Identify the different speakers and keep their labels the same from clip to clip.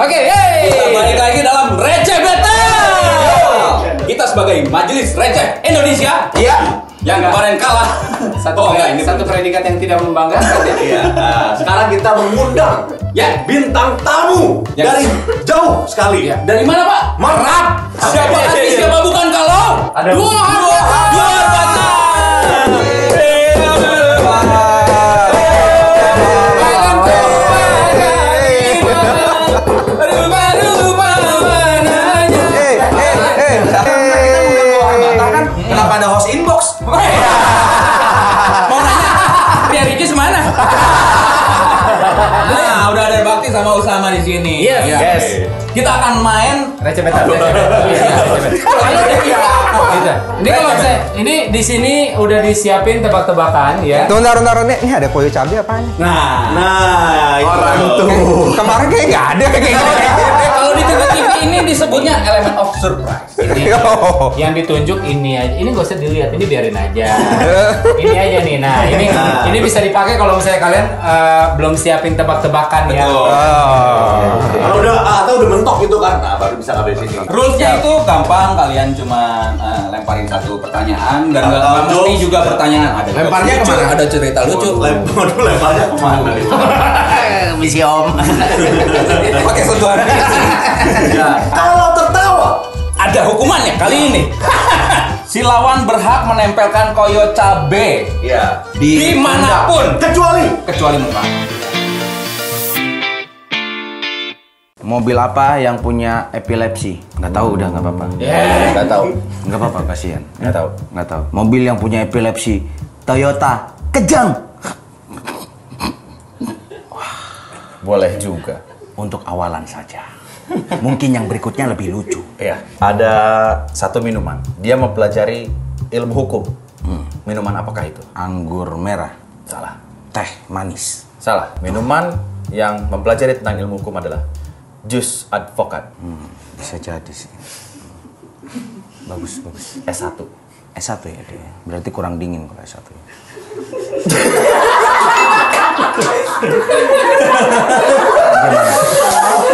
Speaker 1: Oke, yeay.
Speaker 2: Kita balik lagi dalam Receh Battle. Kita sebagai Majelis Receh Indonesia.
Speaker 1: Iya.
Speaker 2: Yang kemarin kalah.
Speaker 1: Satu,
Speaker 2: oh, enggak, ini
Speaker 1: satu
Speaker 2: bener.
Speaker 1: predikat yang tidak membanggakan ya.
Speaker 3: Iya. Nah, sekarang kita mengundang
Speaker 2: Ya.
Speaker 3: bintang tamu
Speaker 2: Ya.
Speaker 3: dari jauh sekali.
Speaker 1: Iya.
Speaker 2: Dari mana, Pak?
Speaker 3: Merap.
Speaker 2: Siapa hati, siapa bukan kalau?
Speaker 3: iya. Ada. Iya,
Speaker 2: dua harga. Dua harga.
Speaker 1: Eh,
Speaker 3: Kenapa ada host inbox?
Speaker 2: Mau nanya, Ria Ricis mana? Nah, udah ada Bakti sama Usama di sini.
Speaker 1: Yes.
Speaker 2: Iya.
Speaker 3: Yes.
Speaker 2: Kita akan main
Speaker 1: Receh beta. receh beta. Iya, receh beta.
Speaker 2: Iya.
Speaker 1: Gitu.
Speaker 4: Ini kalau saya, ini di sini udah disiapin tebak-tebakan ya.
Speaker 5: Tunggu, bentar, bentar, ini, ini ada koyo cabai apaan?
Speaker 2: Nah,
Speaker 3: Nah, itu orang tuh.
Speaker 5: Kemarin kayaknya nggak ada kayaknya.
Speaker 2: kalau di TV TV ini disebutnya element of surprise.
Speaker 4: Ini yang ditunjuk ini aja. Ini gak usah dilihat, ini biarin aja. ini aja nih. Nah, ini
Speaker 3: Nah.
Speaker 4: ini bisa dipakai kalau misalnya kalian eh, belum siapin tebak-tebakan ya.
Speaker 5: Oh.
Speaker 3: Kalau udah atau udah mentok gitu kan, nah, baru bisa ngambil sini.
Speaker 2: Rulesnya itu gampang, kalian cuma eh, lemparin satu pertanyaan dan nggak
Speaker 3: Apa
Speaker 2: nggak mesti
Speaker 3: tuh?
Speaker 2: juga pertanyaan ada.
Speaker 5: Lemparnya
Speaker 2: lucu,
Speaker 5: kemana?
Speaker 2: Ada cerita lucu.
Speaker 3: Lem- Waduh, lebarnya kemana nih?
Speaker 1: Misi Om.
Speaker 2: Pakai sentuhan. Ya,
Speaker 3: Kalau tertawa,
Speaker 2: ada hukumannya kali ini. si lawan berhak menempelkan koyo cabe
Speaker 6: Iya.
Speaker 3: ya.
Speaker 2: dimanapun
Speaker 3: Kecuali
Speaker 2: kecuali muka.
Speaker 1: Mobil apa yang punya epilepsi? Nggak tahu udah nggak apa-apa.
Speaker 2: Nggak tahu.
Speaker 1: Nggak apa-apa kasihan. Nggak tahu. Nggak tahu. Mobil yang punya epilepsi Toyota Kejang. Wah, Boleh juga. Untuk awalan saja. Mungkin yang berikutnya lebih lucu.
Speaker 6: Iya, ada satu minuman. Dia mempelajari ilmu hukum.
Speaker 2: Hmm.
Speaker 6: Minuman apakah itu?
Speaker 1: Anggur merah,
Speaker 6: Salah.
Speaker 1: teh manis.
Speaker 6: Salah. Minuman yang mempelajari tentang ilmu hukum adalah jus advokat
Speaker 1: Hmm, Bisa jadi sih. Bagus, bagus.
Speaker 6: S1.
Speaker 1: S1 ya dia. Berarti kurang dingin kalau S1. ya.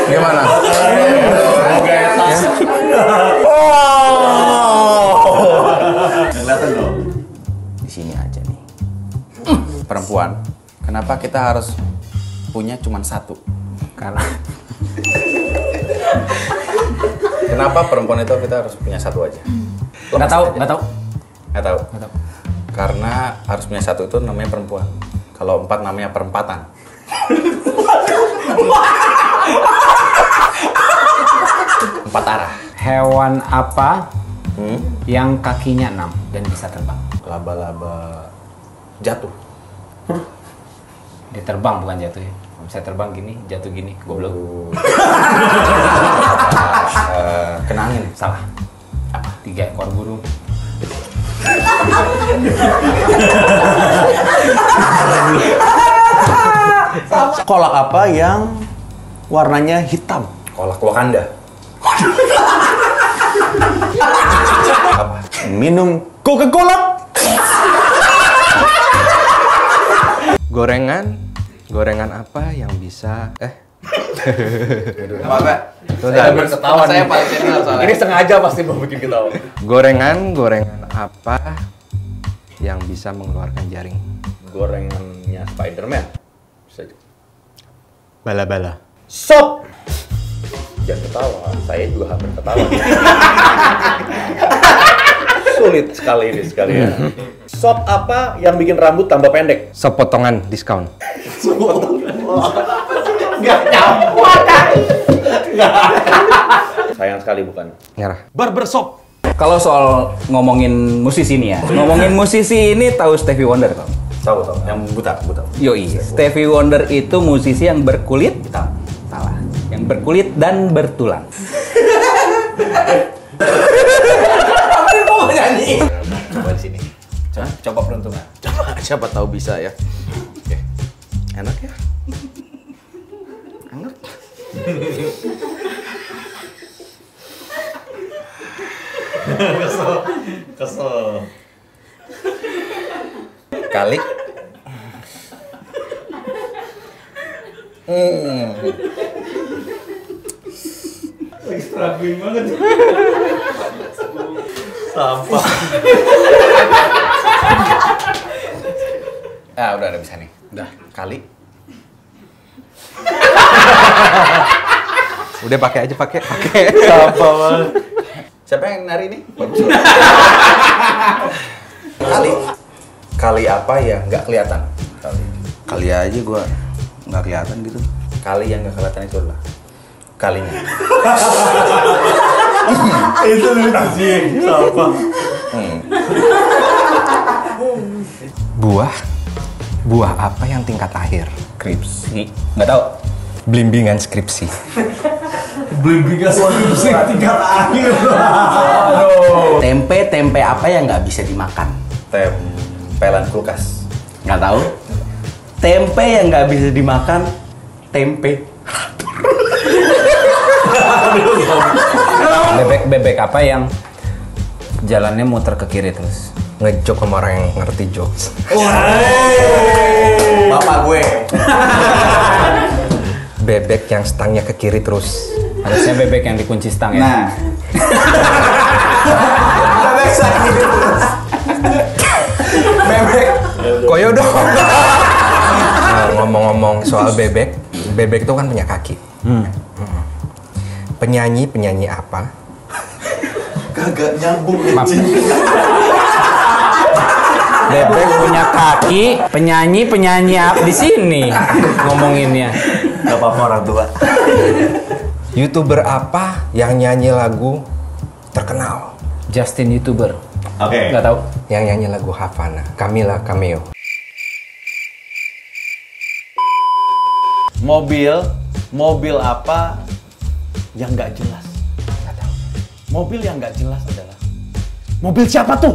Speaker 6: Gimana?
Speaker 3: kelihatan dong.
Speaker 1: Di sini aja nih.
Speaker 2: Perempuan. Kenapa kita harus punya cuma satu?
Speaker 1: Karena
Speaker 6: Kenapa perempuan itu kita harus punya satu aja?
Speaker 1: nggak tahu, nggak tahu.
Speaker 6: Nggak tahu. Karena harus punya satu itu namanya perempuan. Kalau empat namanya perempatan. Empat arah.
Speaker 4: Hewan apa
Speaker 2: Hmm?
Speaker 4: yang kakinya enam dan bisa terbang?
Speaker 6: Laba-laba jatuh.
Speaker 4: Dia terbang bukan jatuh ya. Kalau Bisa terbang gini, jatuh gini, goblok.
Speaker 2: Oh.
Speaker 6: Eh, kena angin.
Speaker 4: Salah. Apa? Tiga ekor burung.
Speaker 5: Kolak apa yang warnanya hitam?
Speaker 6: Kolak Wakanda. Apa?
Speaker 5: Minum Coca-Cola.
Speaker 7: Gorengan, gorengan apa yang bisa eh
Speaker 6: Saya berketawa saya paling senior soalnya.
Speaker 7: gorengan gorengan apa yang bisa mengeluarkan jaring?
Speaker 6: Gorengannya Spiderman. Bisa j-
Speaker 7: Bala-bala.
Speaker 6: Jangan ketawa, saya juga hampir ketawa. Sulit sekali ini sekali ya. Sop apa yang bikin rambut tambah pendek?
Speaker 7: Sepotongan diskon.
Speaker 6: Sayang sekali bukan.
Speaker 7: Nyerah.
Speaker 2: Kalau soal ngomongin musisi nih ya, ngomongin musisi ini tahu Stevie Wonder kok.
Speaker 6: Tahu tahu, yang buta buta.
Speaker 2: Yoi, Stevie Wonder itu musisi yang berkulit hitam. Salah. Yang berkulit dan bertulang.
Speaker 6: Coba di sini. Coba, coba peruntungan.
Speaker 7: Siapa tahu bisa ya. Enak ya?
Speaker 6: Kali. Hmm.
Speaker 1: Ah, udah ada bisa nih. Udah. Kali.
Speaker 7: Udah pakai aja pakai, pakai.
Speaker 1: Siapa yang nari ini?
Speaker 6: Kali. Kali apa yang nggak kelihatan? Kali.
Speaker 1: Kali aja gua nggak kelihatan gitu.
Speaker 6: Kali yang nggak kelihatan itu adalah kalinya.
Speaker 3: Itu lucu sih. Siapa?
Speaker 7: Buah. Buah apa yang tingkat akhir?
Speaker 1: Skripsi. Nggak tahu.
Speaker 7: Blimbingan skripsi.
Speaker 3: Blimbingan skripsi tingkat akhir.
Speaker 1: Tempe tempe apa yang nggak bisa dimakan?
Speaker 6: Tempelan kulkas.
Speaker 1: Nggak tahu. Tempe yang nggak bisa dimakan. Tempe.
Speaker 2: Bebek bebek apa yang jalannya muter ke kiri terus?
Speaker 7: Ngejok sama orang yang ngerti jokes.
Speaker 5: Bapak gue.
Speaker 7: Bebek yang stangnya ke kiri terus.
Speaker 2: Harusnya bebek yang dikunci stang
Speaker 1: Nah,
Speaker 2: ya.
Speaker 7: Koyo dong. Nah, Ngomong-ngomong soal bebek, bebek itu kan punya kaki. Hmm. Penyanyi penyanyi apa
Speaker 3: Kagak nyambung.
Speaker 2: Bebek punya kaki, penyanyi penyanyi apa di sini ya. ngomonginnya?
Speaker 3: Gak apa-apa orang tua.
Speaker 7: YouTuber apa yang nyanyi lagu terkenal?
Speaker 2: Justin youtuber,
Speaker 3: Oke.
Speaker 2: nggak tahu.
Speaker 7: Yang nyanyi lagu Havana, Camila Cameo.
Speaker 5: Mobil, mobil apa yang nggak jelas? Nggak tahu. Mobil yang nggak jelas adalah mobil siapa tuh?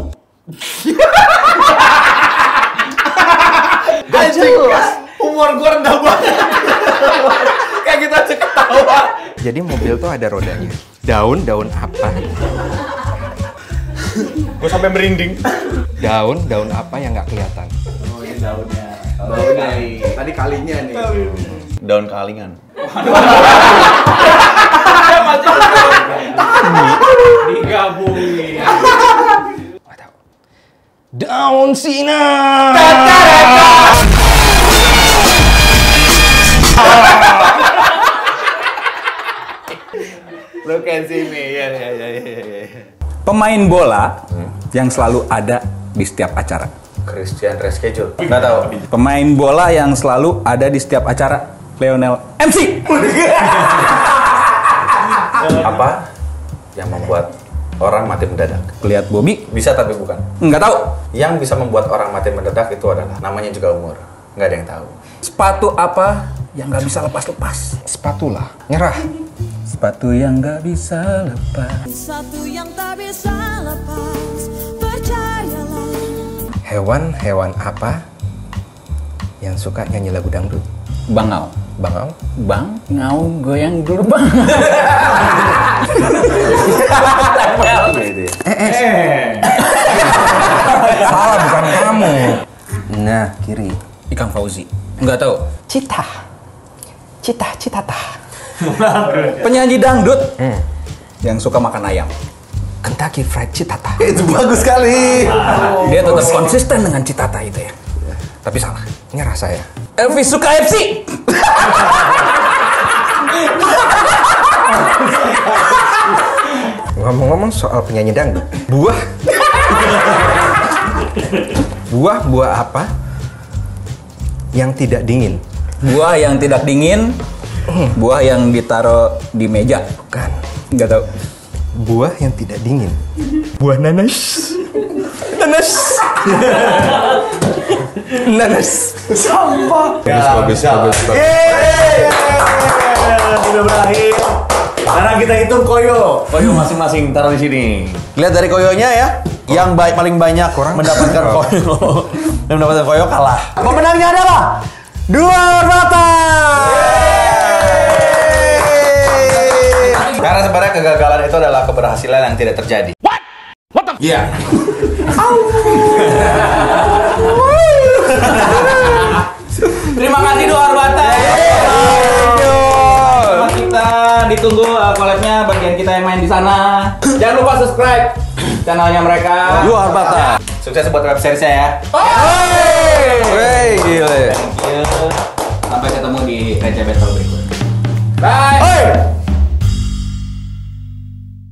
Speaker 7: Jadi mobil tuh ada rodanya. Daun-daun apa?
Speaker 5: Gue sampai merinding.
Speaker 7: Daun-daun apa yang nggak kelihatan?
Speaker 6: Oh, Tadi kalinya nih. Daun kalingan.
Speaker 7: Daun Sina.
Speaker 6: Look at sini. Ya ya ya
Speaker 2: Pemain bola yang selalu ada di setiap acara.
Speaker 6: Christian reschedule. Nggak tahu.
Speaker 2: Pemain bola yang selalu ada di setiap acara. Lionel MC.
Speaker 6: Apa yang membuat orang mati mendadak?
Speaker 2: Lihat Bobby,
Speaker 6: Bisa tapi bukan.
Speaker 2: nggak tahu.
Speaker 6: Yang bisa membuat orang mati mendadak itu adalah namanya juga umur. Nggak ada yang tahu.
Speaker 2: Sepatu apa yang nggak bisa lepas-lepas?
Speaker 7: Spatula. Nyerah.
Speaker 2: Sepatu yang nggak bisa lepas.
Speaker 8: Satu yang tak bisa lepas, percayalah.
Speaker 7: Hewan-hewan apa yang suka nyanyi lagu dangdut?
Speaker 2: Bangau.
Speaker 7: Bangau?
Speaker 2: Bang, ngau goyang dulu bang.
Speaker 6: iya.
Speaker 7: Salah bukan kamu.
Speaker 2: Nah, kiri. Ikan Fauzi. Nggak tahu.
Speaker 7: Cita. Cita, cita tah.
Speaker 2: Penyanyi dangdut yang suka makan ayam.
Speaker 7: Kentucky Fried Cita tah.
Speaker 2: Dia tetap konsisten dengan citata itu ya.
Speaker 7: Tapi salah. Nyerah saya.
Speaker 2: Elvis suka FC.
Speaker 7: Ngomong-ngomong soal penyanyi dangdut. Buah. buah buah apa yang tidak dingin?
Speaker 2: Buah yang tidak dingin, buah yang ditaruh di meja.
Speaker 7: Bukan.
Speaker 2: Nggak tahu.
Speaker 7: Buah yang tidak dingin. Buah nanas. Nanas. nanas.
Speaker 3: Bagus,
Speaker 6: Iya,
Speaker 3: bagus, bagus. Sudah berakhir. Sekarang kita hitung koyo.
Speaker 5: Koyo masing-masing taruh di sini. Lihat dari koyonya ya, yang baik paling banyak orang mendapatkan koyo. yang mendapatkan koyo kalah. Pemenangnya adalah dua mata.
Speaker 6: Karena sebenarnya kegagalan itu adalah keberhasilan yang tidak terjadi. What? What the? Iya.
Speaker 2: Terima kasih dua Arbata. Terima kasih kita di ditunggu uh, collabnya bagian kita yang main di sana. Jangan lupa subscribe channelnya mereka.
Speaker 7: Luar bata.
Speaker 2: Sukses buat web seriesnya ya.
Speaker 7: Wey, gile.
Speaker 2: Thank you. Sampai ketemu di receh battle berikutnya. Bye.
Speaker 7: Hey!